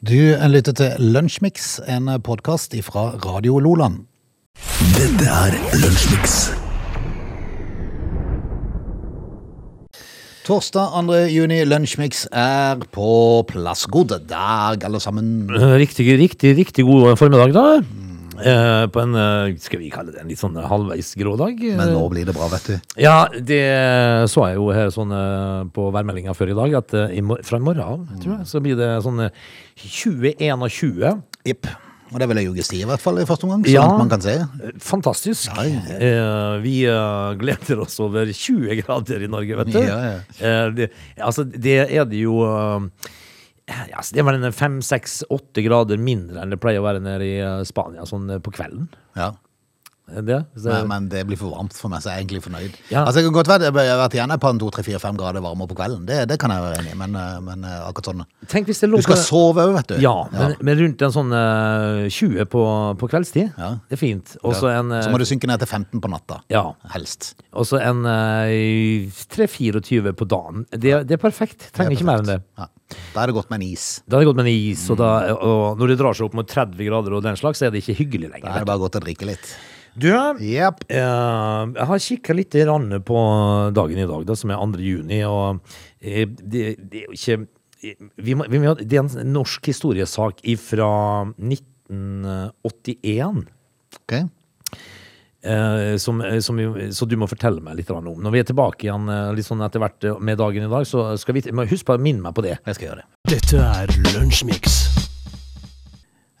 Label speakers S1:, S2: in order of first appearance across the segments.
S1: Du lytter til Lunsjmix, en podkast fra Radio Loland.
S2: Dette er Lunsjmix.
S1: Torsdag 2. juni, Lunsjmix er på plass. God dag, alle sammen.
S3: Eh, Riktig, riktig, riktig god formiddag, da. Eh, På en, eh, skal vi kalle det en litt sånn halvveis grå dag?
S1: Men nå blir det bra, vet du.
S3: Ja, det så jeg jo her sånn eh, på værmeldinga før i dag, at eh, i mor- fra i morgen av,
S1: Mm.
S3: tror jeg, så blir det sånn eh, 20, 21.
S1: Jepp. Og det vil jeg jo si, i hvert fall i første omgang. Sånn
S3: Ja.
S1: at man kan se.
S3: Eh, Fantastisk.
S1: Ja, ja, ja.
S3: Eh, Vi eh, gleder oss over 20 grader i Norge, vet du.
S1: Ja, ja.
S3: Eh, Det, altså, det er det jo eh, ja, altså, Det er vel en fem, seks, åtte grader mindre enn det pleier å være nede i eh, Spania sånn eh, på kvelden.
S1: Ja.
S3: Er det? Så,
S1: Men, men det blir for varmt for meg, så jeg er egentlig fornøyd.
S3: Ja.
S1: Altså, det kan godt være det bør vært gjerne et par 2-3-4-5 grader varmere på kvelden. Det, det kan jeg være enig i, men, eh, men eh, akkurat sånn
S3: Tenk hvis det lå
S1: Du skal
S3: på-
S1: sove òg, vet du.
S3: Ja, men, men rundt en sånn eh, 20 på, på kveldstid.
S1: Ja.
S3: Det er fint. Og så en eh,
S1: Så må du synke ned til 15 på natta.
S3: Ja.
S1: Helst.
S3: og så en eh, 3-24 på dagen. Det, det er perfekt. Trenger ikke mer enn det.
S1: Ja. Da er det godt med en is.
S3: Da har det gått med en is, og, da,
S1: Mm.
S3: og når det drar seg opp mot 30 grader og den slags, så er det ikke hyggelig
S1: Da er
S3: lenger.
S1: det bare godt å drikke litt.
S3: Du,
S1: Jepp.
S3: eh, jeg har kikka litt i randet på dagen i dag, da, som er 2. juni, og eh, det, det er jo ikke vi må, vi må, Det er en norsk historiesak ifra 1981.
S1: Ok.
S3: Eh, som, eh, som, vi- så du må fortelle meg litt grann om. Når vi er tilbake igjen eh, litt sånn etter hvert eh, med dagen i dag, så skal vi men Husk på å minne meg på det.
S1: Jeg skal gjøre det.
S2: Dette er Lunsjmix.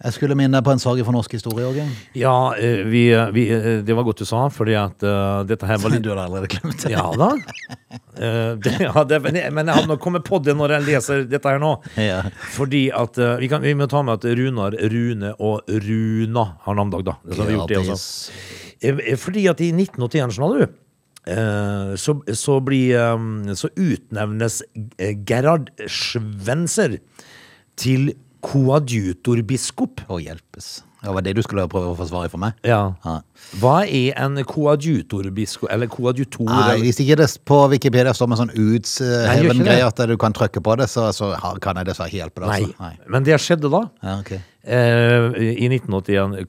S1: Jeg skulle minne på en sag fra norsk historie, Åge.
S3: Ja, eh, vi, eh, vi, eh, det var godt du sa, fordi at eh, dette her var litt
S1: har allerede glemt
S3: Ja da. Eh, det, ja, det, men jeg men jeg hadde nok kommet på det når jeg leser dette her nå.
S1: Ja.
S3: Fordi at eh, vi, kan, vi må ta med at Runar, Rune og Runa har navndag, da. Så har vi gjort det også.
S1: Gratis.
S3: Eh, Fordi at i 1981, skjønner du, eh, så, så, blir, eh, så utnevnes eh, Gerhard Schwenzer til koadjutorbiskop.
S1: Å hjelpes. Det var det du skulle prøve å forsvare for meg?
S3: Ja.
S1: Ja.
S3: Hva er en koadjutorbiskop, eller koadjutor?
S1: Nei,
S3: eller-
S1: hvis ikke det på Wikipedia står med sånn
S3: Nei, gjør ikke
S1: utsheven-greie at du kan trykke på det, så, så har- kan jeg dessverre ikke hjelpe deg.
S3: Nei.
S1: Altså.
S3: Men det skjedde da.
S1: Ja, ok.
S3: Eh, I 1981.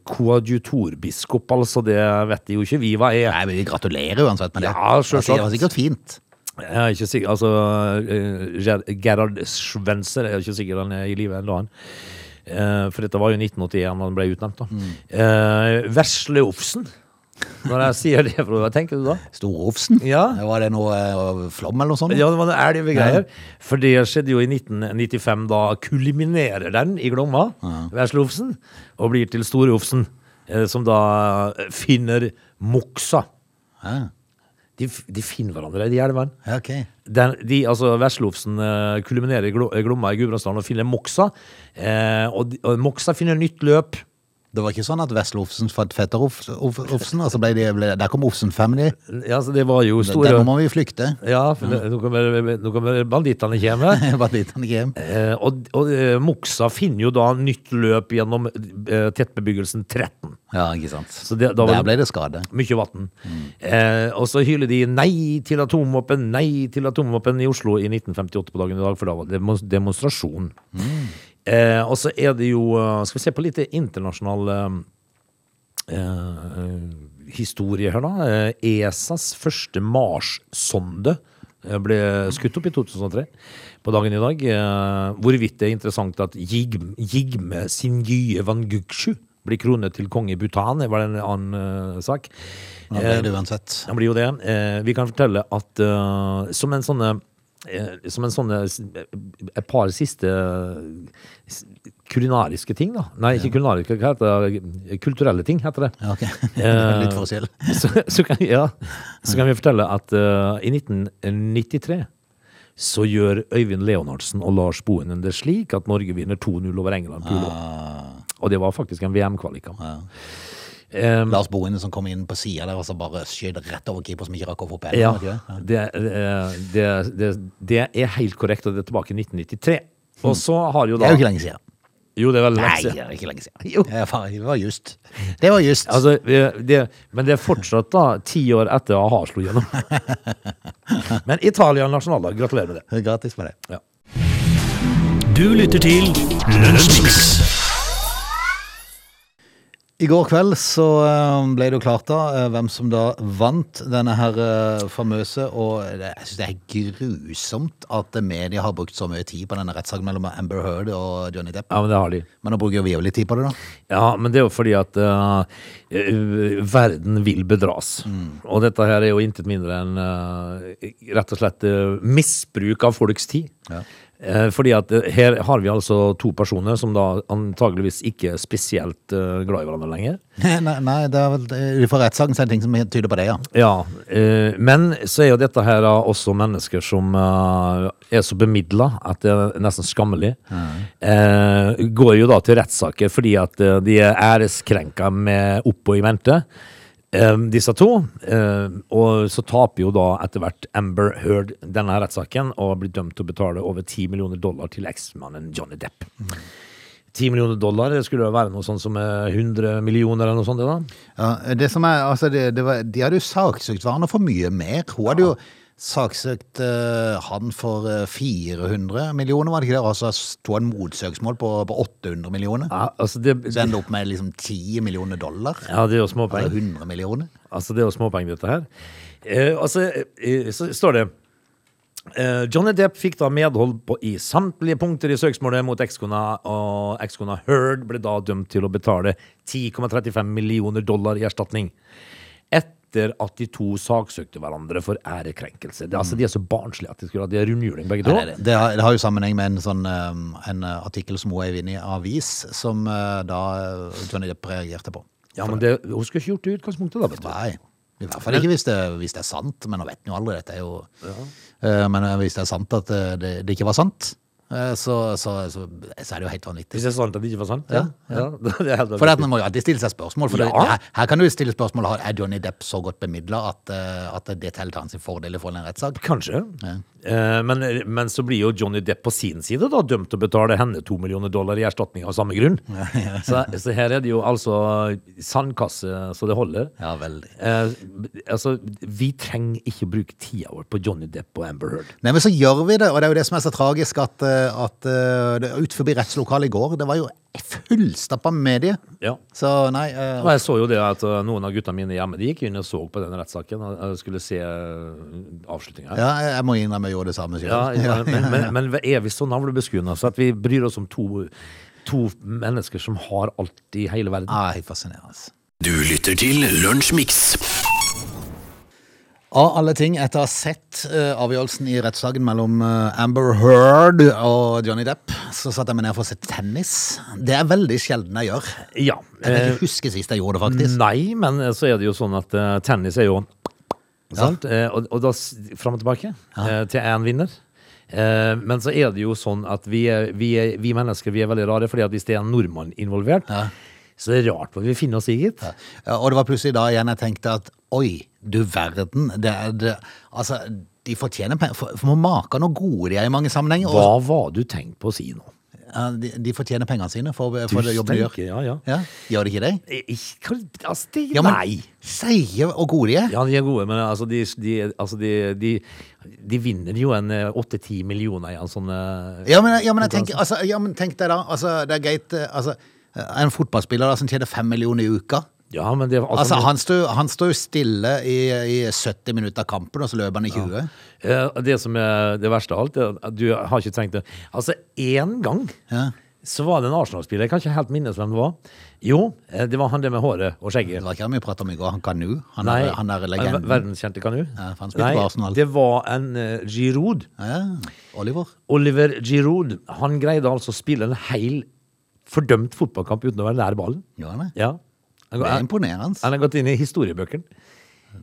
S3: Koadjutorbiskop, altså. Det vet jo ikke vi hva er.
S1: Nei, men Vi gratulerer uansett med det.
S3: Ja,
S1: det
S3: selvsagt.
S1: var sikkert fint.
S3: Jeg er ikke sikker, altså eh, Ger- Gerhard Schwenzer Jeg er ikke sikker han er i livet ennå, han. Eh, For dette var jo 1981 han ble utnevnt, da. Eh, Vesle Ofsen. Når jeg sier det, Frode, hva tenker du da?
S1: Storofsen?
S3: Ja.
S1: Var det noe eh, flom eller noe sånt?
S3: Ja, det var noe elvegreier. For det skjedde jo i 1995. Da kulminerer den i Glomma, Vesle Ofsen, og blir til Store Ofsen, eh, som da finner Moksa.
S1: Ja.
S3: De, f- de finner hverandre, de elvene.
S1: Ja, ok.
S3: Den, de, altså Veslofsen eh, kulminerer i Glo- Glomma i Gudbrandsdalen og finner Moksa. Eh, og, de, og Moksa finner nytt løp.
S1: Det var ikke sånn at Vesle-Ofsen fant Fetter-Ofsen, og så ble de, ble, der kom Ofsen Family.
S3: Ja, så det var jo store
S1: Der må vi flykte.
S3: Ja, for det- nå kommer, nå kommer bandittene komme.
S1: Bare litt han ikke hjem.
S3: Eh, og og eh, Moksa finner jo da nytt løp gjennom eh, tettbebyggelsen 13.
S1: Ja, ikke sant.
S3: Så det, da var
S1: Der ble det Mm. skade.
S3: Mye vann. Eh, og så hyler de nei til atomvåpen, nei til atomvåpen i Oslo i 1958 på dagen i dag, for da var det demo- demonstrasjon.
S1: Mm.
S3: Eh, og så er det jo eh, Skal vi se på litt internasjonal eh, eh, historie her, da. Eh, ESAs første Mars-sonde eh, ble skutt opp i 2003 på dagen i dag. Eh, hvorvidt det er interessant at Jigm- Jigme Singye Vangukshu blir kronet til konge i Bhutan, det var en annen eh, sak.
S1: Men Da ble
S3: Eh,
S1: det uansett.
S3: Han blir jo det. Eh, vi kan fortelle at eh, som en sånne eh, som en sånne s- et par siste eh, s- kulinariske ting, da. Nei, ikke kulinariske, hva heter det? Kulturelle ting, heter det.
S1: Ja, Ok,
S3: Eh,
S1: litt forskjell.
S3: Så, så, kan, ja, så kan vi fortelle at eh, i 1993 så gjør Øyvind Leonardsen og Lars Bohinen det slik at Norge vinner 2-0 over England. på Ullevål.
S1: Ah,
S3: Og det var faktisk en VM-kvalikamp.
S1: ja.
S3: Eh,
S1: Lars Bohine som kom inn på sida der og så bare skjøt rett over keeper som ikke rakk å få opp hendene,
S3: Ja,
S1: vet du det?
S3: det, eh, det, det, det er helt korrekt, og det er tilbake i 1993. Og så har jo
S1: Det
S3: da
S1: er jo ikke lenge siden.
S3: Jo, det er veldig
S1: Nei,
S3: lenge
S1: det
S3: siden.
S1: er ikke lenge siden.
S3: Jo.
S1: Ja, faen, Det var just. Det var just.
S3: Altså, eh, det, men det er fortsatt da ti år etter a-ha slo gjennom. Men Italia nasjonaldag, gratulerer med det.
S1: Gratis med det.
S3: Ja.
S2: Du Du lytter til Lunsjmix.
S1: I går kveld så eh, ble det jo klart da eh, hvem som da vant denne her eh, famøse, og eh, det- jeg synes det er grusomt at media har brukt så mye tid på denne rettssaken mellom Amber Heard og Johnny Depp.
S3: Ja, men det har de.
S1: Men nå bruker jo vi jo litt tid på det da.
S3: Ja, men det er jo fordi at eh, eh, verden vil bedras. Og dette her er jo intet mindre enn eh, rett og slett eh, misbruk av folks tid.
S1: Ja.
S3: Eh, fordi at eh, her har vi altså to personer som da antageligvis ikke er spesielt eh, glad i hverandre lenger.
S1: nei, nei, det er vel, det- for rettssaken så er det ting som tyder på det, ja.
S3: Ja, eh, men så er jo dette her da også mennesker som eh, er så bemidla at det er nesten skammelig. Eh, går jo da til rettssaker fordi at eh, de er æreskrenka med opp og i mente, eh, disse to. Eh, og så taper jo da etter hvert Amber Heard denne rettssaken og blir dømt til å betale over 10 millioner dollar til eksmannen Johnny Depp. 10 millioner dollar, det skulle jo være noe sånt som eh, 100 millioner eller noe sånt? det da?
S1: Ja, det som er, altså det, det var, De hadde jo saksøkt hverandre for mye mer. Hun hadde jo saksøkt eh, han for eh, 400 millioner, var det ikke det? Og så sto han motsøksmål på, på 800 millioner.
S3: Ja, altså det,
S1: Så endte det opp med liksom 10 millioner dollar.
S3: ja, det er jo
S1: Altså
S3: småpenger.
S1: 100 millioner.
S3: Altså, det er jo småpenger, dette her. Eh, altså, eh, så står det eh, Johnny Depp fikk da medhold på, i samtlige punkter i søksmålet mot ekskona, og ekskona Heard ble da dømt til å betale 10,35 millioner dollar i erstatning. Etter at de to saksøkte hverandre for ærekrenkelse. Det, er altså, de er så barnslige at de skulle ha de er rundhjuling, begge to.
S1: Det, det. Det, har, det har jo sammenheng med en, sånn, eh, en eh, artikkel som hun er inne i avis, som eh, da eh, Johnny Depp reagerte på.
S3: Ja, men det, hun skulle ikke gjort det i utgangspunktet, da. vet du.
S1: Nei. I hvert fall ikke hvis det, hvis det er sant, men nå vet en jo aldri. Dette er jo Eh, Men eh, hvis det er sant at eh, det, det ikke var sant, eh, så, så, så, så er det jo helt vanvittig.
S3: Hvis det er sant at det ikke var sant?
S1: Ja,
S3: det er helt
S1: For at man må jo alltid stille seg spørsmål. For det,
S3: Ja.
S1: her, her kan du stille spørsmål har- Er Johnny Depp så godt bemidla at, eh, at det teller til hans fordel i forhold til en rettssak?
S3: Kanskje. Eh, men, men så blir jo Johnny Depp på sin side da dømt til å betale henne to millioner dollar i erstatning av samme grunn. så, så her er det jo altså sandkasse så det holder.
S1: Ja, veldig.
S3: Eh, altså, vi trenger ikke bruke tida vår på Johnny Depp og Amber Heard.
S1: Nei, men så gjør vi det, og det er jo det som er så tragisk at, eh, at eh, det, ut forbi rettslokalet i går, det var jo fullstappa med medier.
S3: Ja.
S1: Så nei eh,
S3: Og jeg så jo det at eh, noen av gutta mine hjemme de gikk inn og så på den rettssaken og eh, skulle se avslutninga.
S1: ja, jeg må innrømme jeg gjorde det samme selv.
S3: Ja, ja, men, men, men er vi så navlebeskuende altså, at vi bryr oss om to, to mennesker som har alt i hele verden?
S1: Ah, helt fascinerende.
S2: Du lytter til Lunsjmix.
S1: Av alle ting, etter å ha sett eh, avgjørelsen i rettssaken mellom eh, Amber Heard og Johnny Depp, så satte jeg meg ned for å se tennis. Det er veldig sjelden jeg gjør.
S3: Ja.
S1: Jeg kan
S3: eh,
S1: ikke huske sist jeg gjorde det, faktisk.
S3: Nei, men eh, så er det jo sånn at eh, tennis er jo sant? Eh, og, og da s- fram og tilbake eh, til én vinner. Eh, men så er det jo sånn at vi, er, vi, er, vi mennesker vi er veldig rare, fordi at hvis det er en nordmann involvert, så er det rart hva vi finner oss i, gitt.
S1: Ja, Og det var plutselig da igjen jeg tenkte at oi, du verden. Det er det, altså, de fortjener penger. For, for maker noe gode de er i mange sammenhenger.
S3: Hva
S1: Og,
S3: var du tenkt på å si nå?
S1: ja, de, de fortjener pengene sine for, for det
S3: Du
S1: jobben de gjør.
S3: tenker, Ja, ja.
S1: Ja, gjør de ikke det?
S3: Eh, ikke- hva- altså, det,
S1: Ja, men
S3: nei!
S1: Seige og gode de er.
S3: Ja, de er gode, men altså, de, de, altså, de, de, de vinner jo en eh, 8-10 millioner i en sånn eh,
S1: Ja, men, ja, men, jeg tenker, altså, ja, men tenk deg da, altså, det er greit eh, altså, En fotballspiller da, som tjener fem millioner i uka.
S3: ja, men det,
S1: Altså, han, står, han står jo stille i, i 70 minutter av kampen, og så løper han i 20.
S3: Eh, Det som er det verste av alt, er at du har ikke tenkt det. Altså, én gang
S1: Ja.
S3: så var det en Arsenal-spiller, jeg kan ikke helt minnes hvem det var. Jo, eh, det var han det med håret og skjegget.
S1: Det var ikke han vi prata om i går, han Kanu. Han,
S3: Nei,
S1: er, han er
S3: ver-
S1: legenden.
S3: verdenskjente kanu.
S1: Ja, for han spilte
S3: Nei,
S1: på Arsenal.
S3: det var en eh, Giroud.
S1: Ja, Oliver.
S3: Oliver Giroud. Han greide altså å spille en hel fordømt fotballkamp uten å være nær ballen.
S1: Gjør han det?
S3: Ja. Han,
S1: Det er
S3: han,
S1: imponerende. altså.
S3: han har gått inn i historiebøkene.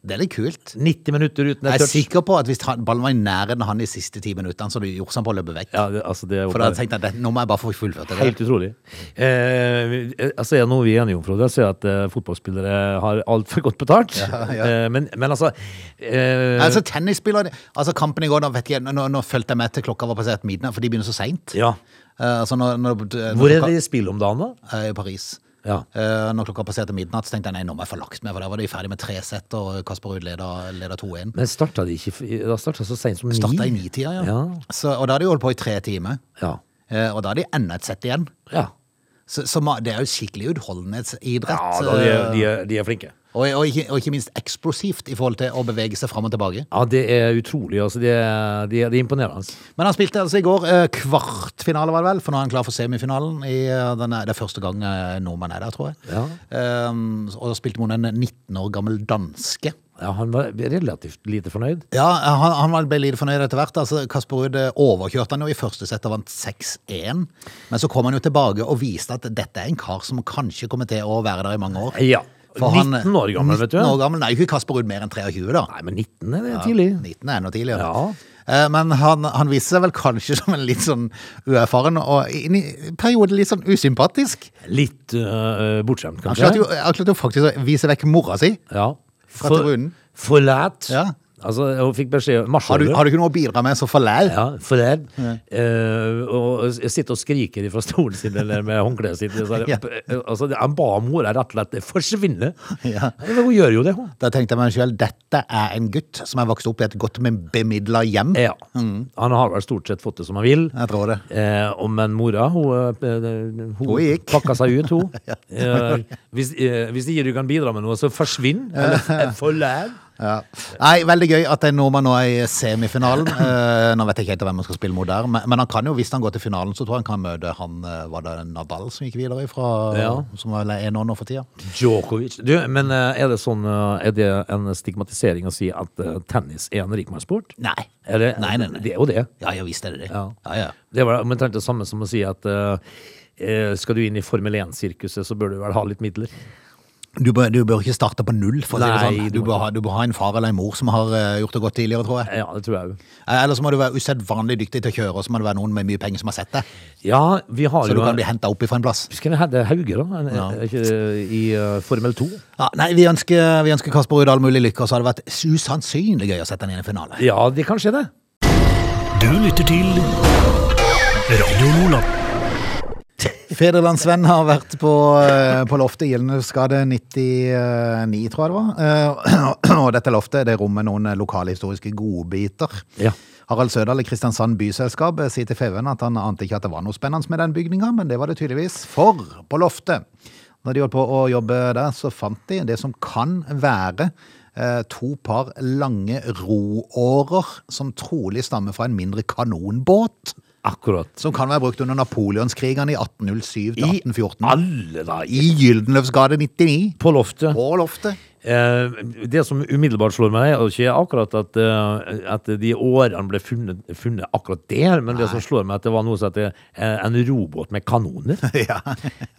S1: Det er litt kult.
S3: 90 minutter uten
S1: Jeg
S3: et
S1: er
S3: touch.
S1: sikker på at hvis han, ballen var i nærheten av han de siste ti minuttene, så hadde du gjort sånn på å løpe vekk.
S3: Ja, det, altså, det er jo
S1: For da
S3: bare-
S1: hadde jeg tenkt at det- nå må jeg bare få fullført det.
S3: Helt utrolig. Eh, vi- eh, altså, er det noe vi er enige om, Frode, så er det at eh, fotballspillere har altfor godt betalt.
S1: ja.
S3: Eh, men, men altså eh,
S1: Altså, tennisspillere Altså, kampen i går, da vet jeg, nå, nå fulgte jeg med til klokka var passert midnatt, for de begynner så seint.
S3: ja.
S1: så når, når, når
S3: Hvor er
S1: klokka-
S3: det i spill om dagen, da?
S1: Eh, I Paris.
S3: Ja.
S1: Eh, når klokka passerte midnatt, så tenkte jeg nei, nå må jeg få lagt meg, for der var de ferdig med tre sett, og Kasper Ruud leder, leder 2-1.
S3: Men starta de ikke f- Da starta så seint som ni?
S1: Starta i nitida, ja.
S3: Ja.
S1: Så, og da hadde de holdt på i tre timer.
S3: ja.
S1: Eh, Og da er det enda et sett igjen.
S3: Ja.
S1: Så, så ma- det er jo skikkelig utholdenhetsidrett.
S3: ja da, de, er, de, er, de er flinke.
S1: Og, og, ikke, og ikke minst eksplosivt i forhold til å bevege seg fram og tilbake.
S3: Ja, det er utrolig. Altså, det, er, det, er, det er imponerende.
S1: Men han spilte altså i går eh, kvartfinale, var det vel, for nå er han klar for semifinalen. I, eh, denne, det er første gang eh, nordmenn er der, tror jeg.
S3: Ja.
S1: Ehm, og da spilte man en 19 år gammel danske.
S3: Ja, han var relativt lite fornøyd.
S1: Ja, han, han var- ble litt fornøyd etter hvert. Altså, Kasper Ruud eh, overkjørte han jo i første sett og vant 6-1. Men så kom han jo tilbake og viste at dette er en kar som kanskje kommer til å være der i mange år.
S3: Ja.
S1: For
S3: 19
S1: han-
S3: år gammel, vet du.
S1: 19 år gammel, Nei, ikke Kasper Ruud mer enn 23, da.
S3: Nei, men 19 er det tidlig.
S1: 19 er ennå tidlig. ja.
S3: Ja.
S1: Eh, Men han, han viser seg vel kanskje som en litt sånn uerfaren og i en periode litt sånn usympatisk.
S3: Litt øh, bortskjemt,
S1: Han
S3: kanskje.
S1: klarte jo, han klarte jo faktisk å vise vekk mora si.
S3: Ja.
S1: Fra tribunen.
S3: Forlært.
S1: Ja.
S3: Altså, hun fikk beskjed
S1: Har du,
S3: marsjordre.
S1: har du ikke noe å bidra med, så forlæl.
S3: Ja, forlært. Eh, og s- sitter og skriker fra stolen sin eller med håndkleet sitt. Så, er det-
S1: Ja.
S3: eh, altså, det- han ba mora rett og slett forsvinne.
S1: Ja.
S3: Men Hun gjør jo det, hun.
S1: Da tenkte jeg meg selv, dette er en gutt som er vokst opp i et godt bemidla hjem.
S3: Ja.
S1: Mm.
S3: Han har vel stort sett fått det som han vil.
S1: Jeg tror det.
S3: Eh, og men mora, hun, eh, hun,
S1: gikk.
S3: pakka seg ut, hun. eh, hvis, eh, hvis ikke du kan bidra med noe, så forsvinn. Eller eh, f- forlær.
S1: Ja. Nei, veldig gøy at en nordmann nå er i semifinalen. Eh, nå vet jeg ikke helt hvem han skal spille mot der, men, men han kan jo, hvis han går til finalen, så tror jeg han kan møte han eh, Var det Nadal som gikk videre ifra,
S3: Ja.
S1: som vel er nå nå for tida?
S3: Djokovic. Du, men eh, er det sånn eh, Er det en stigmatisering å si at eh, tennis er en rikmannssport?
S1: Nei.
S3: Er det,
S1: Nei, nei, nei.
S3: Det er jo det.
S1: Ja, ja visst er det det.
S3: Ja.
S1: Ja, ja.
S3: Det var omtrent det samme som å si at eh, eh, skal du inn i Formel 1-sirkuset, så bør du vel ha litt midler.
S1: Du, bør, du bør ikke starte på null, for å si
S3: Nei,
S1: det sånn.
S3: du
S1: Du
S3: må
S1: bør, ha, du bør ha en far eller en mor som har eh, gjort det godt tidligere, tror jeg.
S3: Ja, det tror jeg jo.
S1: Eh, Eller så må du være usedvanlig dyktig til å kjøre, og så må det være noen med mye penger som har sett deg.
S3: Ja, vi har
S1: Så
S3: jo
S1: du kan bli henta opp ifra en plass.
S3: Husker jeg Hedde Hauge, da? En-
S1: Ja.
S3: er ikke det I eh, Formel 2.
S1: Ja, nei, vi ønsker, vi ønsker Kasper Ruud all mulig lykke, og så har det vært usannsynlig gøy å sette han i en finale.
S3: Ja, det kan skje, det.
S2: Du lytter til Radio Nordland.
S1: Federlandsvenn har vært på, eh, på loftet i Gyldenhusgade 99, tror jeg det var. Eh, Og dette loftet det rommer noen lokalhistoriske godbiter.
S3: Ja.
S1: Harald Sødal i Kristiansand byselskap eh, sier til FVN at han ante ikke at det var noe spennende med den bygninga, men det var det tydeligvis. For på loftet, når de holdt på å jobbe der, så fant de det som kan være eh, to par lange roårer som trolig stammer fra en mindre kanonbåt.
S3: Akkurat.
S1: Som kan være brukt under napoleonskrigene i 1807 til 1814.
S3: alle dager!
S1: I Gyldenløvs gate 99.
S3: På loftet.
S1: På loftet.
S3: Eh, det som umiddelbart slår meg, er jo ikke akkurat at, eh, at de årene ble funnet, funnet akkurat der, men det som slår meg, at det var noe som heter eh, en robåt med kanoner.
S1: Ja.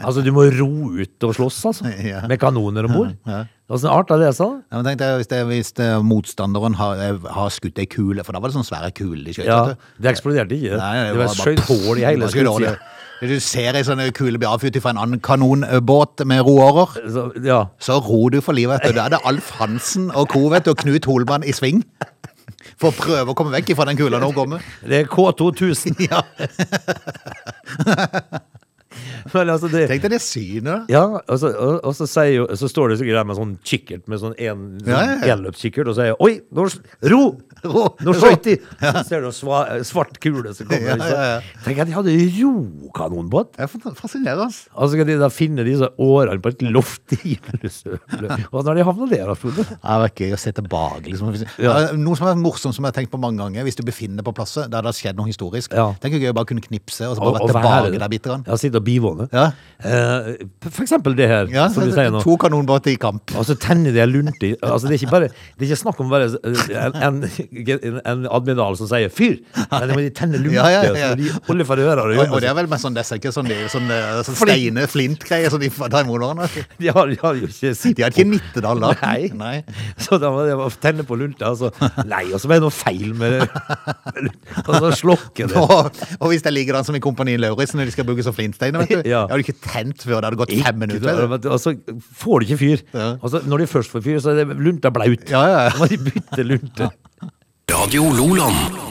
S3: altså, du må ro ut og slåss, altså.
S1: Ja.
S3: Med kanoner om bord.
S1: Ja, ja.
S3: Åssen art er det, sa du?
S1: Ja, men tenkte jeg, hvis, det, hvis det, motstanderen har, eh, har skutt ei kule, for da var det sånn svære kuler de skjøt.
S3: Ja,
S1: vet du.
S3: det eksploderte ikke.
S1: Nei,
S3: det, var
S1: bare-
S3: skjøt hull i hele
S1: Bare skulle
S3: skuddssida.
S1: ordne- Hvis du ser ei sånn kule bli avfyrt fra en annen kanonbåt med roårer,
S3: Så, Ja.
S1: så ror du for livet. vet du. Da er det Alf Hansen og co. vet du, og Knut Holmann i sving. For å prøve å komme vekk ifra den kula når hun kommer.
S3: Det er K2000.
S1: Ja.
S3: Men altså, det,
S1: Tenk deg det synet.
S3: Ja, og så, og, og så, sier jo, så står det sikkert der med sånn kikkert, med sånn en,
S1: Ja, ja,
S3: sånn
S1: ja.
S3: enløpskikkert, og sier Oi, nå, s- ro!
S1: Ro,
S3: Nå
S1: ro!»
S3: skøyt de! Så ser du en sva, svart kule som
S1: Ja,
S3: kommer.
S1: ja, ja.
S3: Så Tenk at de hadde rokanonbåt!
S1: Det er fas- fascinerer oss.
S3: Og så skal de da finne disse årene på et loft i Gyldenløsølet. Og når de havner der, da, Frode
S1: Det har vært gøy å se tilbake. Liksom.
S3: Ja.
S1: Noe som er morsomt, som jeg har tenkt på mange ganger, hvis du befinner deg på plasser der det har skjedd noe historisk.
S3: Ja.
S1: Tenk hvor gøy å bare kunne knipse og så
S3: Og-
S1: bare
S3: og
S1: være
S3: være
S1: tilbake der bitte grann.
S3: Ja, sitte og bivåne.
S1: Ja.
S3: Eh, for eksempel det her,
S1: Ja,
S3: som du sier nå.
S1: to kanonbåter i kamp.
S3: Og så tenner de en lunte i altså, det, er ikke bare, det er ikke snakk om bare en, en, en, en admiral som sier 'fyr', men det må de tenne lunte.
S1: Ja, ja, ja.
S3: så De holder for øra og
S1: Og, og
S3: jobber.
S1: det er vel med sånn, det er ikke sånn, det er sånn, eh, sånn
S3: Flint.
S1: steine, flint-greier som de tar imot hverandre.
S3: De har, de har jo ikke sitt
S1: De hadde ikke Nittedal da.
S3: Nei.
S1: Nei.
S3: Så da må de tenne på lunta, og så Nei, og så var det noe feil med det. Og så slokker det.
S1: Og, og hvis det ligger an som i Kompani Lauritzen når de skal bruke som flintsteiner, vet du.
S3: Ja.
S1: Jeg hadde ikke tent før det hadde gått fem
S3: Ikke
S1: minutter.
S3: sant? Og så får de ikke fyr.
S1: Ja.
S3: Og så, når de først får fyr, så er det lunta blaut.
S1: Ja, ja, ja.
S3: Da må de bytte lunte.
S2: Radio Loland.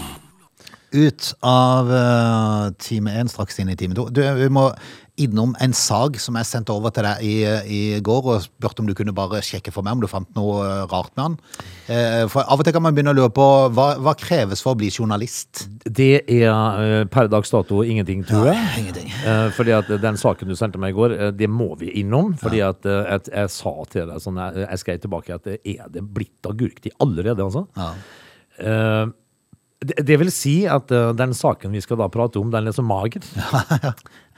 S1: ut av eh, time én, straks inn i time to. Du, vi må innom en sag som jeg sendte over til deg i, i går, og spurte om du kunne bare sjekke for meg om du fant noe eh, rart med han. Eh, for av og til kan man begynne å lure på hva, hva kreves for å bli journalist?
S3: Det er eh, per dags dato ingenting, tror jeg.
S1: Ingenting.
S3: Eh, Fordi at den saken du sendte meg i går, eh, det må vi innom. Fordi at eh, at jeg sa til deg sånn, jeg, jeg skrev tilbake at eh, er det blitt agurktid allerede, altså?
S1: Ja.
S3: Eh, Det, det vil si at eh, den saken vi skal da prate om, den er så mager.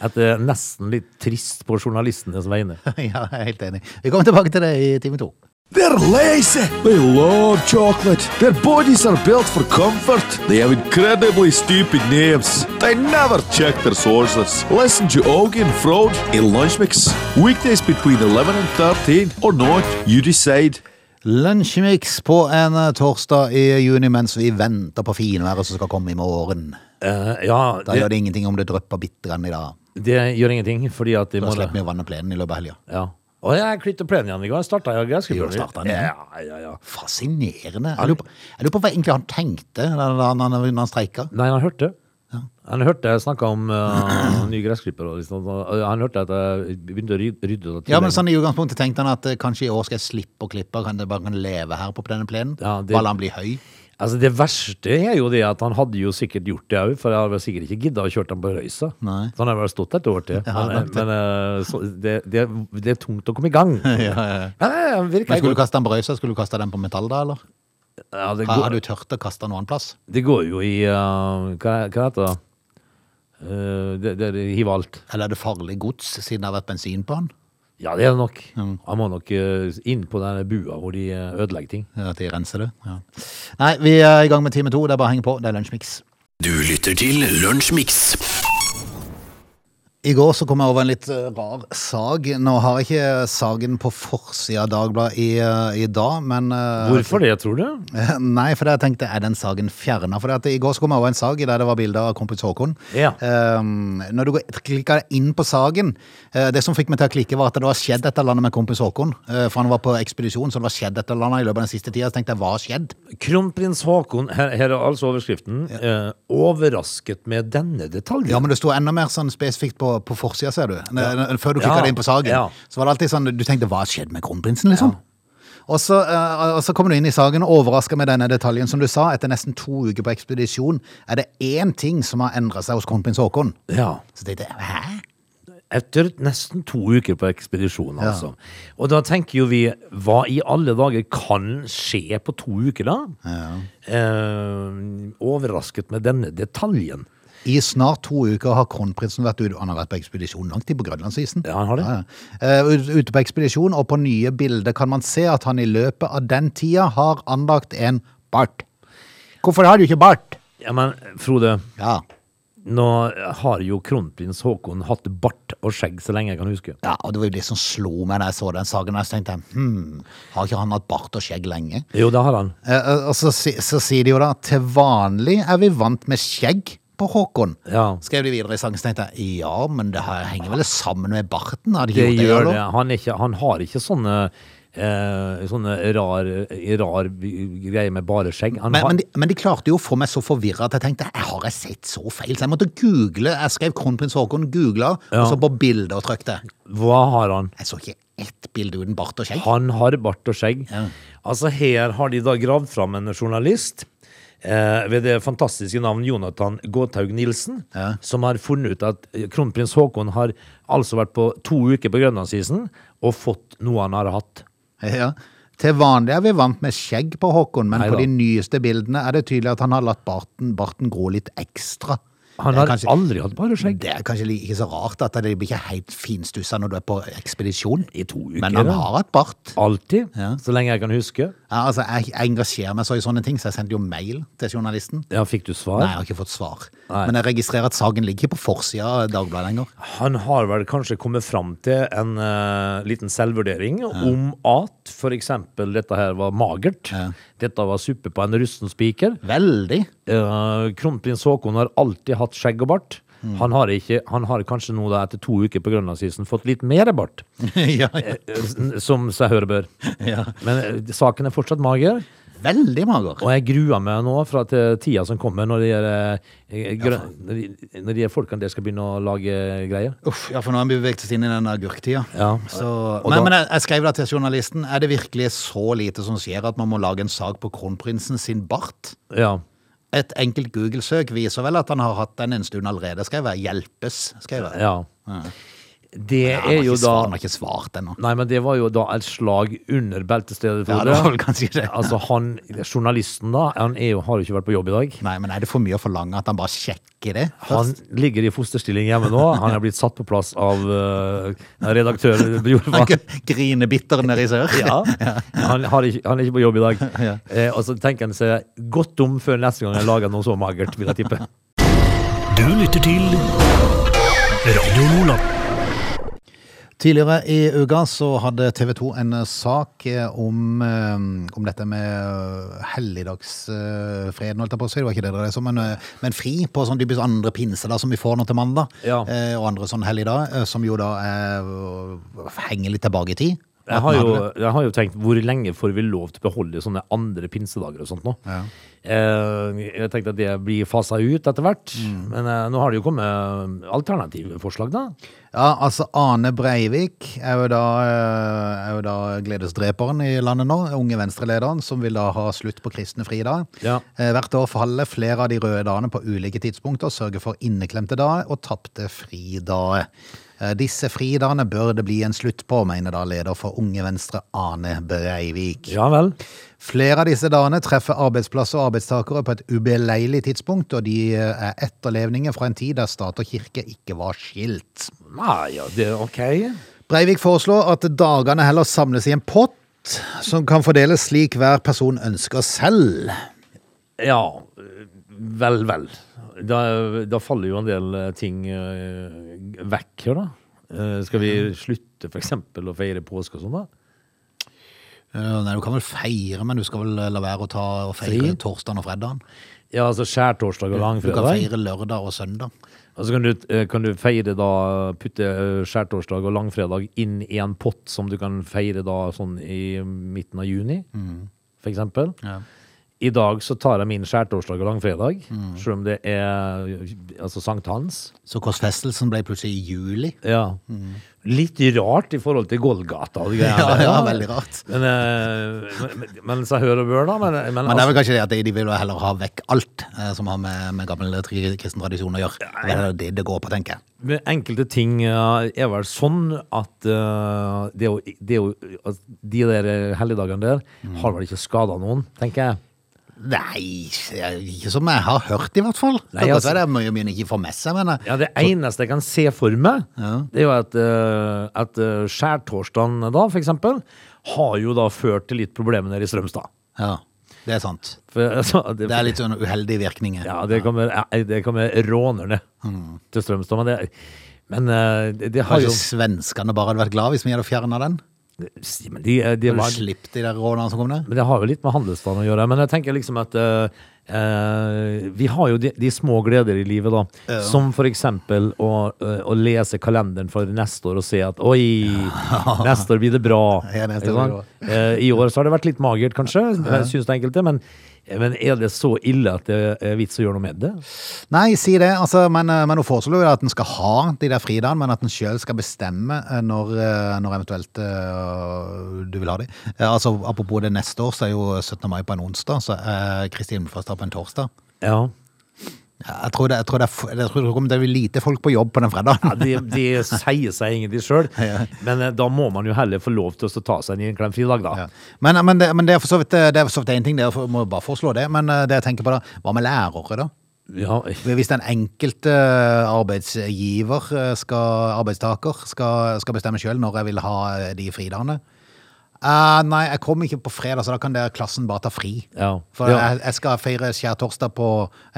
S3: At det er nesten litt trist på journalistenes vegne.
S1: ja, jeg er helt enig. Vi kommer tilbake til det i time to.
S4: They're lazy. They love chocolate. Their bodies are built for comfort. They have incredibly stupid names. They never check their sources. Listen to Augie and Frode in Lunch Mix. Weekdays between 11 and 13 or not, you decide.
S1: Lunsjmix på en eh, torsdag i juni mens vi venter på finværet som skal komme i morgen.
S3: Eh, ja,
S1: Da gjør
S3: det,
S1: det ingenting om det drypper bitte grann i dag.
S3: det gjør ingenting, fordi at i
S1: Da slipper
S3: morgen
S1: vi å vanne plenen i løpet av helga.
S3: ja. Og jeg klippet plenen igjen i går. Jeg starta i
S1: Jo,
S3: gressklipperen.
S1: startet den igjen.
S3: Ja, ja, ja.
S1: Fascinerende. Jeg lurer på, jeg lurer på hva egentlig han tenkte da da han, han, når han streika.
S3: Nei, han hørte. Han hørte jeg snakka om eh, ny gressklipper. Og liksom, og han hørte at jeg begynte å rydde. rydde og
S1: Ja, men
S3: tillegge.
S1: sånn I utgangspunktet tenkte han at eh, kanskje i år skal jeg slippe å klippe, kan jeg bare kan leve her på denne plenen.
S3: Ja, det-
S1: Bare la han bli høy.
S3: altså, det verste er jo det at han hadde jo sikkert gjort det òg, for jeg hadde vel sikkert ikke gidda å kjøre den på Røysa.
S1: Nei.
S3: Så han har vel stått et år til.
S1: Ja,
S3: men
S1: nok
S3: men eh, så, det, det, det er tungt å komme i gang. ja, ja, virker
S1: Men
S3: jeg
S1: Skulle du
S3: godt.
S1: kaste den på røysa, skulle du kaste den på metall da, eller?
S3: Ja, det,
S1: Har, har
S3: går,
S1: du tørt å kaste den noen annen plass?
S3: det går jo i eh, hva, hva heter det? Eh, det, det er Hivalt.
S1: Eller er det farlig gods, siden det har vært bensin på den?
S3: Ja, det er det nok. Han må nok eh, inn på den bua hvor de eh, ødelegger ting.
S1: At de renser det? Ja. Nei, vi er i gang med time to. Det er bare å henge på. Det er Lunsjmix.
S2: Du lytter til Lunsjmix.
S1: I går så kom jeg over en litt eh, rar sag. Nå har jeg ikke saken på forsida av Dagbladet i, eh, i dag, men eh,
S3: Hvorfor det, tror du?
S1: Nei, for jeg tenkte, er den saken fjerna? For at i går så kom jeg over en sag der det var bilder av kompis Håkon.
S3: Ja.
S1: Ehm, når du går- klikker inn på saken eh, Det som fikk meg til å klikke, var at det var skjedd et eller annet med kompis Håkon. Eh, for han var på ekspedisjon, så det var skjedd et eller annet i løpet av den siste tida. Så tenkte jeg, hva har skjedd?
S3: Eh, Kronprins Haakon, her, her er altså overskriften, eh, overrasket med denne detaljen.
S1: Ja, men det sto enda mer sånn spesifikt på, på forsida, ser du. N- n- Før du
S3: Ja,
S1: klikka inn på saken.
S3: ja.
S1: Så var det alltid sånn Du tenkte 'hva skjedde med kronprinsen', liksom? Og så, eh, og så kommer du inn i saken og overrasker med denne detaljen. Som du sa, etter nesten to uker på ekspedisjon er det én ting som har endra seg hos kronprins Haakon.
S3: Ja.
S1: Så tenkte jeg 'hæ?'
S3: Etter nesten to uker på ekspedisjon, altså. Og da tenker jo vi, hva i alle dager kan skje på to uker, da? Eh, overrasket med denne detaljen.
S1: I snart to uker har kronprinsen vært ute. Han har vært på ekspedisjon langt inn på Grønlandsisen.
S3: Ja, han har det.
S1: Eh, ut- Ute på ekspedisjon, og på nye bilder kan man se at han i løpet av den tida har anlagt en bart. Hvorfor har du ikke bart?
S3: Ja, men Frode,
S1: Ja.
S3: nå har jo kronprins Haakon hatt bart og skjegg så lenge jeg kan huske.
S1: Ja, og det var jo det som slo meg da jeg så den saken. Og så tenkte jeg, hm, har ikke han hatt bart og skjegg lenge?
S3: Jo, det har han.
S1: Eh, eh, og så, si- så sier de jo da, til vanlig er vi vant med skjegg på Håkon.
S3: Ja.
S1: Skrev de videre i sangen, så tenkte jeg, ja, men det her henger vel sammen med barten? Har de
S3: Det
S1: gjort
S3: gjør
S1: eller?
S3: det. Han, er ikke, han har ikke sånne eh, Sånne rar, rar greier med bare skjegg. Han
S1: Men,
S3: har,
S1: men, de, men de klarte jo å få meg så forvirra at jeg tenkte jeg har jeg sett så feil. Så jeg måtte google. Jeg skrev kronprins Haakon, googla, og så på bildet og trykte.
S3: hva har han?
S1: Jeg så ikke ett bilde uten bart og skjegg.
S3: Han har bart og skjegg.
S1: Ja.
S3: Altså Her har de da gravd fram en journalist eh, ved det fantastiske navn Jonathan Gåthaug Nilsen,
S1: Ja.
S3: som har funnet ut at eh, kronprins Haakon har altså vært på to uker på Grønlandsisen og fått noe han har hatt.
S1: Ja. Til vanlig er vi vant med skjegg på Håkon, men
S3: Neida.
S1: på de nyeste bildene er det tydelig at han har latt barten, barten gro litt ekstra.
S3: Han
S1: Det er
S3: har
S1: kanskje,
S3: aldri hatt bare skjegg.
S1: det er kanskje li- ikke så rart at det blir ikke helt finstussa når du er på ekspedisjon,
S3: I to uker.
S1: men han
S3: da.
S1: har hatt bart.
S3: Alltid.
S1: Ja.
S3: Så lenge jeg kan huske.
S1: Ja, altså, jeg, jeg engasjerer meg så i sånne ting, så jeg sendte jo mail til journalisten.
S3: Ja, fikk du svar?
S1: Nei, jeg har ikke fått svar.
S3: Nei.
S1: Men jeg registrerer at saken ligger ikke på forsida av Dagbladet lenger.
S3: Han har vel kanskje kommet fram til en eh, liten selvvurdering om at f.eks. dette her var magert.
S1: Ja.
S3: Dette var suppe på en rusten spiker.
S1: Veldig.
S3: Eh, kronprins Haakon har alltid hatt skjegg og bart.
S1: Mm.
S3: Han, har ikke, han har kanskje nå da etter to uker på Grønlandsisen fått litt mer bart,
S1: ja,
S3: eh, som seg høre bør.
S1: ja.
S3: Men eh, saken er fortsatt mager.
S1: Veldig mager.
S3: Og jeg gruer meg nå fra til tida som kommer, når de, er, eh, grøn, når de, når de er folkene der skal begynne å lage greier.
S1: Uff, ja, for nå har vi beveget oss inn i den agurktida.
S3: Ja.
S1: Så,
S3: Og
S1: men
S3: da-
S1: men jeg, jeg skrev da til journalisten Er det virkelig så lite som skjer at man må lage en sak på kronprinsen sin bart?
S3: Ja.
S1: Et enkelt Google-søk viser vel at han har hatt den en stund allerede, skrev jeg. Hjelpes, skrev jeg.
S3: ja. Det
S1: Han har
S3: er
S1: ikke
S3: jo da
S1: svar- han har ikke svart ennå.
S3: Nei, men det var jo da et slag under beltestedet,
S1: Ja,
S3: Frode.
S1: det var vel kanskje det.
S3: altså han, journalisten da, han er jo, har jo ikke vært på jobb i dag.
S1: Nei, men er det for mye å forlange at han bare sjekker det?
S3: Han
S1: først?
S3: ligger i fosterstilling hjemme nå. Han er blitt satt på plass av eh, redaktør
S1: Han
S3: Bjorva.
S1: g- griner bitter nede i sør.
S3: Ja. Han, har ikke, han er ikke på jobb i dag.
S1: Ja.
S3: Eh, og så tenker han seg godt om før neste gang jeg lager noe så magert, vil jeg tippe.
S2: Du lytter til Radio Lola.
S1: Tidligere i uka så hadde TV 2 en eh, sak eh, om, eh, om dette med eh, helligdagsfreden, holdt jeg på å si. Det var ikke det det dreide seg om, men, eh, men fri på sånn typisk andre pinse da, som vi får nå til mandag.
S3: Ja.
S1: eh, Og andre sånn helligdag, eh, som jo da eh, henger litt tilbake i tid.
S3: Jeg har, jo, jeg har jo tenkt hvor lenge får vi lov til å beholde sånne andre pinsedager og sånt nå?
S1: Ja.
S3: Eh, jeg tenkte at det blir fasa ut etter hvert,
S1: Mm.
S3: men eh, nå har det jo kommet eh, alternative forslag, da.
S1: Ja, altså Ane Breivik er jo da, eh, er jo da gledesdreperen i landet nå. Unge Venstre-lederen som vil da ha slutt på kristne fridag.
S3: Ja.
S1: Eh, Hvert år faller flere av de røde dagene på ulike tidspunkter og sørger for inneklemte dager og tapte fridager. Eh, Disse fridagene bør det bli en slutt på, mener da leder for Unge Venstre Ane Breivik.
S3: Ja vel.
S1: Flere av disse dagene treffer arbeidsplasser og arbeidstakere på et ubeleilig tidspunkt, og de eh, er etterlevninger fra en tid der stat og kirke ikke var skilt.
S3: Nei, ja, det er ok.
S1: Breivik foreslår at dagene heller samles i en pott som kan fordeles slik hver person ønsker selv.
S3: Ja, eh, vel, vel. Da, da faller jo en del eh, ting eh, vekk her, da. Eh, skal vi slutte for eksempel å feire påske og sånn, da?
S1: Eh, Nei, Du kan vel feire, men du skal vel eh, la være å ta og feire
S3: Fri?
S1: torsdagen og fredagen.
S3: Ja, altså skjærtorsdag og
S1: Du kan
S3: langfredag.
S1: feire lørdag og søndag.
S3: Og så kan du, eh, kan du feire da, putte eh, skjærtorsdag og langfredag inn i en pott som du kan feire da sånn i midten av juni,
S1: Mm.
S3: for eksempel.
S1: Ja.
S3: I dag så tar jeg min skjærtorsdag og langfredag,
S1: Mm.
S3: selv om det er eh, altså sankthans.
S1: Så korsfestelsen ble plutselig i juli.
S3: Ja. Mm. Litt rart i forhold til Golgata og de greiene
S1: Ja,
S3: der,
S1: ja,
S3: da.
S1: veldig rart.
S3: Men, eh, men, men, men så hør og bør, da. Men, men,
S1: Men det er
S3: altså,
S1: vel kanskje det at de de vil jo heller ha vekk alt eh, som har med, med gammel eh, tri- kristen tradisjon å gjøre. Det er det det går på, tenker jeg.
S3: men enkelte ting eh, er vel sånn at eh, det er jo, det er jo, at de der helligdagene der har vel ikke skada noen, tenker jeg.
S1: Nei, jeg- ikke som jeg har hørt, i hvert fall.
S3: Nei,
S1: det,
S3: altså-
S1: det er mye mye en ikke får med seg, men eh, jeg.
S3: Ja, Det eneste jeg kan se for meg, det er jo at, eh, at eh, skjærtorsdagen da, for eksempel, har jo da ført til litt problemer nede i Strømstad.
S1: Ja, det er sant.
S3: For, altså,
S1: Det er litt sånn uheldige virkninger.
S3: Ja, det kommer, eh, det kommer rånerne til Strømstad. Men, det, men eh, det, det har jo
S1: Kanskje svenskene bare hadde vært glad hvis vi hadde fjerna den?
S3: men de, eh, de
S1: Hadde
S3: var,
S1: du sluppet de der rådene som kom der?
S3: men det har jo litt med handelsstand å gjøre. Men jeg tenker liksom at eh, eh, vi har jo de, de små gleder i livet, da. Som for eksempel å, eh, å lese kalenderen for neste år og se at oi, neste år blir det bra.
S1: Ja, neste
S3: Ikke
S1: år
S3: sant?
S1: blir det bra.
S3: Eh, I år så har det vært litt magert, kanskje, syns det enkelte. Men, men er det så ille at det er vits å gjøre noe med det?
S1: Nei, si det. Altså, men, eh, men hun foreslår jo at en skal ha de der fridagene, men at en sjøl skal bestemme eh, når, eh, når eventuelt eh, du vil ha de. Eh, Altså, apropos det neste år, så er jo 17. mai på en onsdag, så eh, er Kristi himmelfartsdag på en torsdag.
S3: Ja
S1: Ja, Jeg tror, det, jeg, tror det er, f- jeg tror det kommer til å bli lite folk på jobb på den fredagen.
S3: Ja, det, det sier seg egentlig sjøl, men eh, da må man jo heller få lov til å ta seg en klemfri dag, da.
S1: Ja. Men, men, det, men det er for så vidt eh, det er for så vidt én ting, det er for- må bare foreslå det. Men eh, det jeg tenker på da, hva med lærere, da?
S3: Ja.
S1: Hvis den enkelte eh, arbeidsgiver, eh, skal, arbeidstaker, skal, skal bestemme sjøl når jeg vil ha de fridagene Eh, Nei, jeg kommer ikke på fredag, så da kan dere klassen bare ta fri.
S3: Ja.
S1: For
S3: Ja.
S1: Jeg, jeg skal feire skjærtorsdag på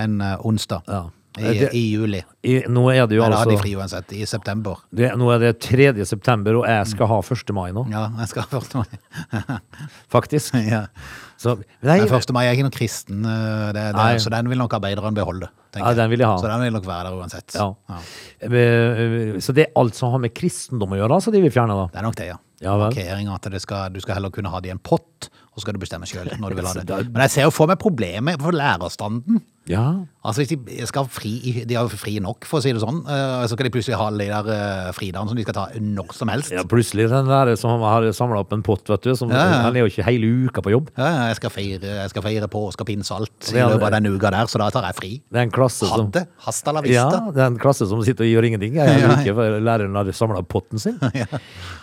S1: en eh, onsdag
S3: Ja.
S1: i,
S3: Det-
S1: i juli.
S3: I, nå er det jo
S1: Nei, da har de
S3: altså
S1: fri uansett. I september.
S3: det, Nå er det 3. september, og jeg skal ha 1. mai nå,
S1: Ja, jeg skal 1. mai.
S3: faktisk.
S1: ja.
S3: Så, nei,
S1: Men 1. mai er ikke noen kristen, eh, det, det,
S3: Nei.
S1: så den vil nok arbeideren beholde. tenker
S3: Ja, den vil de ha.
S1: Så den vil nok være der uansett.
S3: ja. Eh, eh, Så det er alt som har med kristendom å gjøre, altså, de vil fjerne, da.
S1: Det er nok det, ja.
S3: Ja vel.
S1: Markeringa at det skal, du skal heller kunne ha det i en pott, og så skal du bestemme sjøl når du vil ha det. Men jeg ser jo for meg problemet for lærerstanden.
S3: Ja.
S1: Altså Hvis de skal ha fri, i- de har jo fri nok, for å si det sånn, eh, så kan de plutselig ha de der eh, fridagene som de skal ta når som helst.
S3: ja, plutselig den der som har samla opp en pott, vet du. Som,
S1: Ja, ja.
S3: Han er jo ikke hele uka på jobb.
S1: Ja, ja, jeg skal feire, jeg skal feire påske og pinse og alt i
S3: Ja, det-
S1: løpet av den uka der, så da tar jeg fri.
S3: Det er en klasse Sånn som
S1: Hadde. Hasta la
S3: Ja,
S1: vista.
S3: det er en klasse som sitter og gjør ingenting. Jeg
S1: Ja,
S3: er
S1: ja.
S3: ikke for læreren har samla potten sin.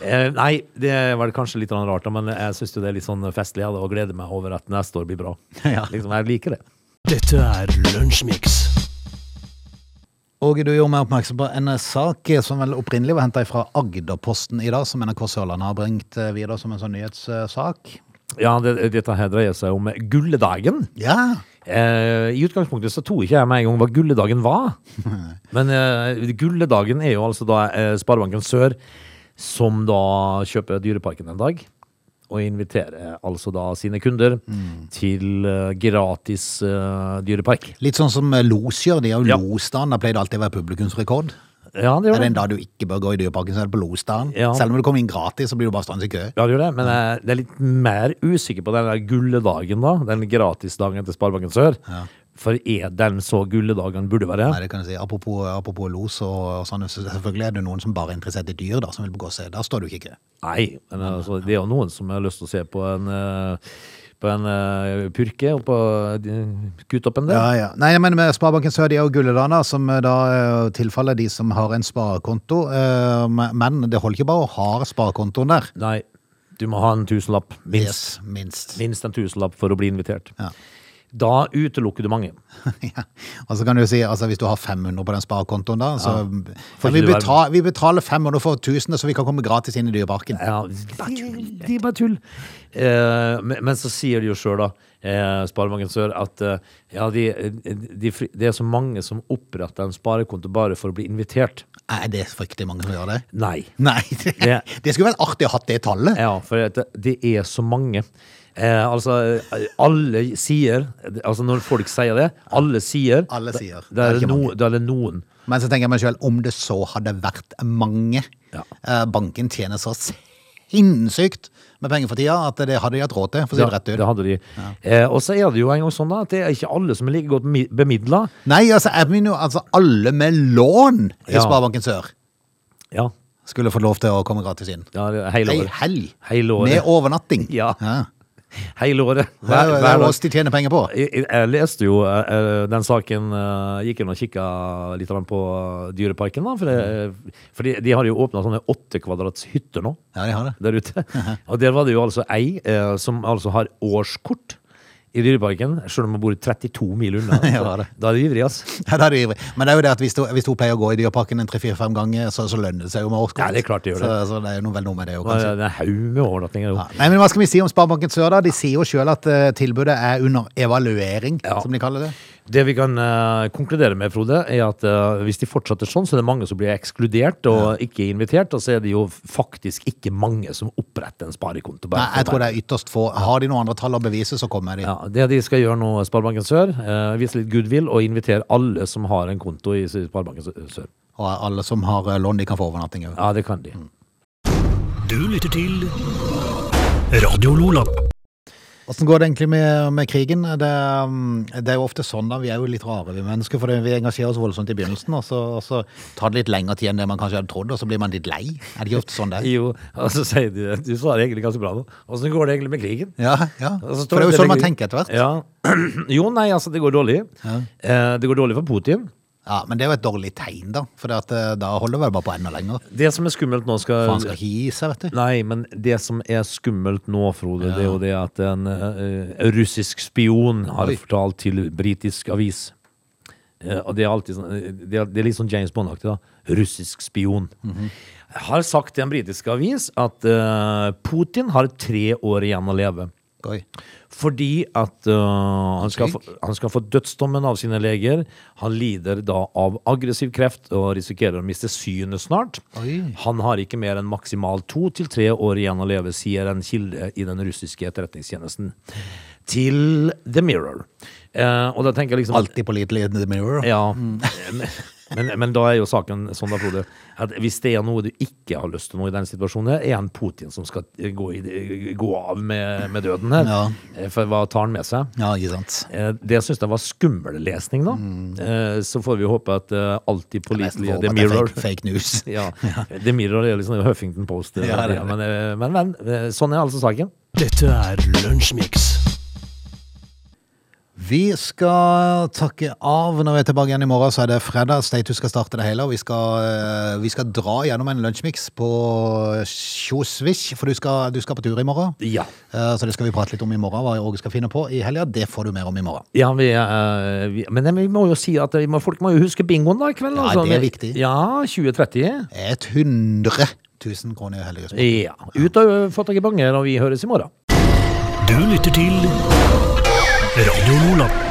S3: Eh, Nei, det var kanskje litt sånn rart, da, men jeg syns det er litt sånn festlig jeg, da, og gleder meg over at neste år blir bra.
S1: Ja.
S3: Liksom, jeg liker det.
S2: Dette er Lunsjmix.
S1: Og du gjorde meg oppmerksom på en sak som vel opprinnelig var henta fra Agderposten i dag, som NRK Sørlandet har bringt eh, videre som en sånn nyhetssak.
S3: Ja, det, Dette her dreier seg om gulledagen.
S1: Ja.
S3: Eh, I utgangspunktet så tror ikke jeg med en gang hva gulledagen var. Men eh, gulledagen er jo altså da eh, Sparebanken Sør som da kjøper Dyreparken en dag. Og inviterer altså da sine kunder til eh, gratis eh, dyrepark.
S1: Litt sånn som eh, Los gjør. De har jo
S3: Ja.
S1: Losdagen. Da pleier det alltid å være publikumsrekord.
S3: Ja,
S1: Er
S3: det gjør
S1: det
S3: det.
S1: en dag du ikke bør gå i Dyreparken, så er det på Losdagen.
S3: Ja.
S1: Selv om du kommer inn gratis, så blir du bare stående i kø.
S3: Ja, det gjør det, men jeg det er litt mer usikker på den der gulledagen, da. Den gratisdagen til Sparebanken Sør. For er den så gulledagen burde være?
S1: Nei, det kan du si. Apropos, eh, apropos los og, og sånn, så selvfølgelig er det noen som bare er interessert i dyr, da, som vil gå og se. Da står du ikke i kø.
S3: Nei, men altså, det er jo noen som har lyst til å se på en, eh, på en eh, purke og på eh, kutoppen der.
S1: Ja, ja. Nei, jeg mener med Sparebanken Sør, de er jo gulledana, som eh, da eh, tilfaller de som har en sparekonto. Eh, men- Men det holder ikke bare å ha sparekontoen der.
S3: Nei, du må ha en tusenlapp. Minst,
S1: Yes, minst.
S3: minst en tusenlapp for å bli invitert.
S1: Ja.
S3: Da utelukker du mange.
S1: Ja. Og så kan du jo si, altså hvis du har 500 på den sparekontoen da, så
S3: Får
S1: ja, vi,
S3: ikke du være-
S1: betaler, vi betaler 500 for 1000, så vi kan komme gratis inn i dyreparken.
S3: Ja, det det er bare tull. Eh, men, men så sier de jo sjøl, da, eh, Sparebanken Sør, at eh, ja, de, de, fri- det er så mange som oppretter en sparekonto bare for å bli invitert.
S1: Er det fryktelig mange som gjør det?
S3: Nei.
S1: Nei, det,
S3: Det-
S1: skulle vært artig å ha hatt det tallet.
S3: Ja, for at det er så mange. Eh, altså, alle sier Altså, når folk sier det, alle sier
S1: Alle sier.
S3: Da,
S1: Det er
S3: da, er, det
S1: ikke
S3: no,
S1: mange.
S3: da er det noen.
S1: Men så tenker jeg meg selv, om det så hadde vært mange,
S3: Ja.
S1: eh, banken tjener så sinnssykt med penger for tida, at det hadde de hatt råd til, for å si det rett ut.
S3: det hadde de. Eh, og så er det jo en gang sånn da at det er ikke alle som er like godt mi- bemidla.
S1: Nei, altså, jeg mener jo, altså, alle med lån i
S3: Ja.
S1: Sparebanken Sør
S3: Ja,
S1: skulle fått lov til å komme gratis inn.
S3: ja det er hele
S1: Ei
S3: året.
S1: helg.
S3: Hele året.
S1: Med overnatting.
S3: Ja.
S1: ja.
S3: Hele året.
S1: Det er, det er
S3: dag.
S1: jo oss de tjener penger på.
S3: Jeg, jeg- jeg leste jo eh, eh, den saken eh, Gikk inn og kikka litt grann på eh, Dyreparken, da. For,
S1: Mm.
S3: det, for de, de har jo åpna sånne åtte kvadrats hytter nå.
S1: Ja, de har det.
S3: der ute. Og der var det jo altså ei eh, som altså har årskort i Dyreparken, selv om hun bor 32 mil unna.
S1: Ja, det er det.
S3: Da er du ivrig, altså.
S1: Ja, da er du ivrig. Men det er jo det at hvis du, hvis du pleier å gå i dyreparken en tre-fire-fem ganger, så, så lønner det seg jo med årskort.
S3: Ja, det er klart det gjør det.
S1: Så, så det er jo noe, vel noe med det òg,
S3: Det
S1: kanskje.
S3: er en haug med overnattinger. jo.
S1: Altså- Ja. Nei, men Hva skal vi si om Sparebanken Sør? da? De sier jo sjøl at eh, tilbudet er under evaluering,
S3: Ja.
S1: som de kaller det.
S3: Det vi kan eh, konkludere med, Frode, er at eh, hvis de fortsetter sånn, så er det mange som blir ekskludert og ikke invitert, og så er det jo faktisk ikke mange som oppretter en sparekonto.
S1: Nei, jeg tror det er ytterst få. Har de noen andre tall å bevise, så kommer de.
S3: Ja, det de skal gjøre nå, Sparebanken Sør, eh, vise litt goodwill og invitere alle som har en konto i Sparebanken Sør.
S1: Og alle som har eh, lån, de kan få overnatting òg.
S3: Ja, det kan de.
S1: Mm.
S2: Du lytter til Radio Lola.
S1: Åssen går det egentlig med, med krigen? Det, um, det er jo ofte sånn da, vi er jo litt rare vi mennesker, for det- vi engasjerer oss voldsomt i begynnelsen, og så, og så tar det litt lengre tid enn det man kanskje hadde trodd, og så blir man litt lei. Er det ikke ofte sånn det er?
S3: Jo, og så sier de det. Du svarer egentlig ganske bra nå. Åssen går det egentlig med krigen?
S1: Ja, ja.
S3: Og så står
S1: For det er jo sånn man
S3: krig.
S1: tenker etter hvert.
S3: Ja. Jo, nei, altså, det går dårlig. Eh, det går dårlig for Putin.
S1: Ja, men det er jo et dårlig tegn da, for det at, eh, da holder det vel bare på enda lenger.
S3: Det som er skummelt nå, skal
S1: For han skal ikke gi seg, vet du.
S3: Nei, men det som er skummelt nå, Frode, det er jo det at en eh, russisk spion har
S1: Oi.
S3: fortalt til britisk avis. Eh, og det er alltid sånn eh, Det er, det er litt sånn James Bond-aktig, da. Russisk spion.
S1: Mhm.
S3: Har sagt til en britisk avis at eh, Putin har tre år igjen å leve.
S1: Oi.
S3: Fordi at øh, han, skal
S1: Syk.
S3: få, han skal få dødsdommen av sine leger. Han lider da av aggressiv kreft og risikerer å miste synet snart.
S1: Oi.
S3: Han har ikke mer enn maksimalt to til tre år igjen å leve, sier en kilde i den russiske etterretningstjenesten til The Mirror. Eh, og da tenker jeg liksom
S1: Mm. Altid pålitelig in the mirror.
S3: ja. Men, men da er jo saken sånn da, Frode, at hvis det er noe du ikke har lyst til nå i den situasjonen, her, er han Putin som skal gå, i, gå av med, med døden her.
S1: Ja.
S3: Eh, For hva tar han med seg?
S1: Ja, ikke sant.
S3: Eh, Det syns jeg var skummel lesning, da. Eh, Så får vi håpe at eh, alt de
S1: Mm. Nesten
S3: pålitelige
S1: håper at
S3: The
S1: det er
S3: Mirror
S1: fake, fake news.
S3: ja, The Mirror er liksom Huffington Post. eh,
S1: Ja, det er det.
S3: men, eh, men, men, eh, sånn er altså saken.
S2: Dette er Lunsjmix.
S1: Vi skal takke av når vi er tilbake igjen i morgen. Så er det fredag. Status skal starte det hele. Og vi skal, eh, vi skal dra gjennom en lunsjmix på Kjosvik, for du skal, du skal på tur i morgen.
S3: Ja.
S1: Eh, Så det skal vi prate litt om i morgen, hva Åge skal finne på i helga. Det får du mer om i morgen.
S3: Ja, vi, eh, vi, men vi må jo si at vi må, folk må jo huske bingoen da i kveld.
S1: Ja,
S3: altså.
S1: det er viktig.
S3: Ja, 2030.
S1: Et 100 000 kroner i helga.
S3: Ja. Ut og ø, få tak i banger, og vi høres i morgen.
S2: Du lytter til Radio Lola.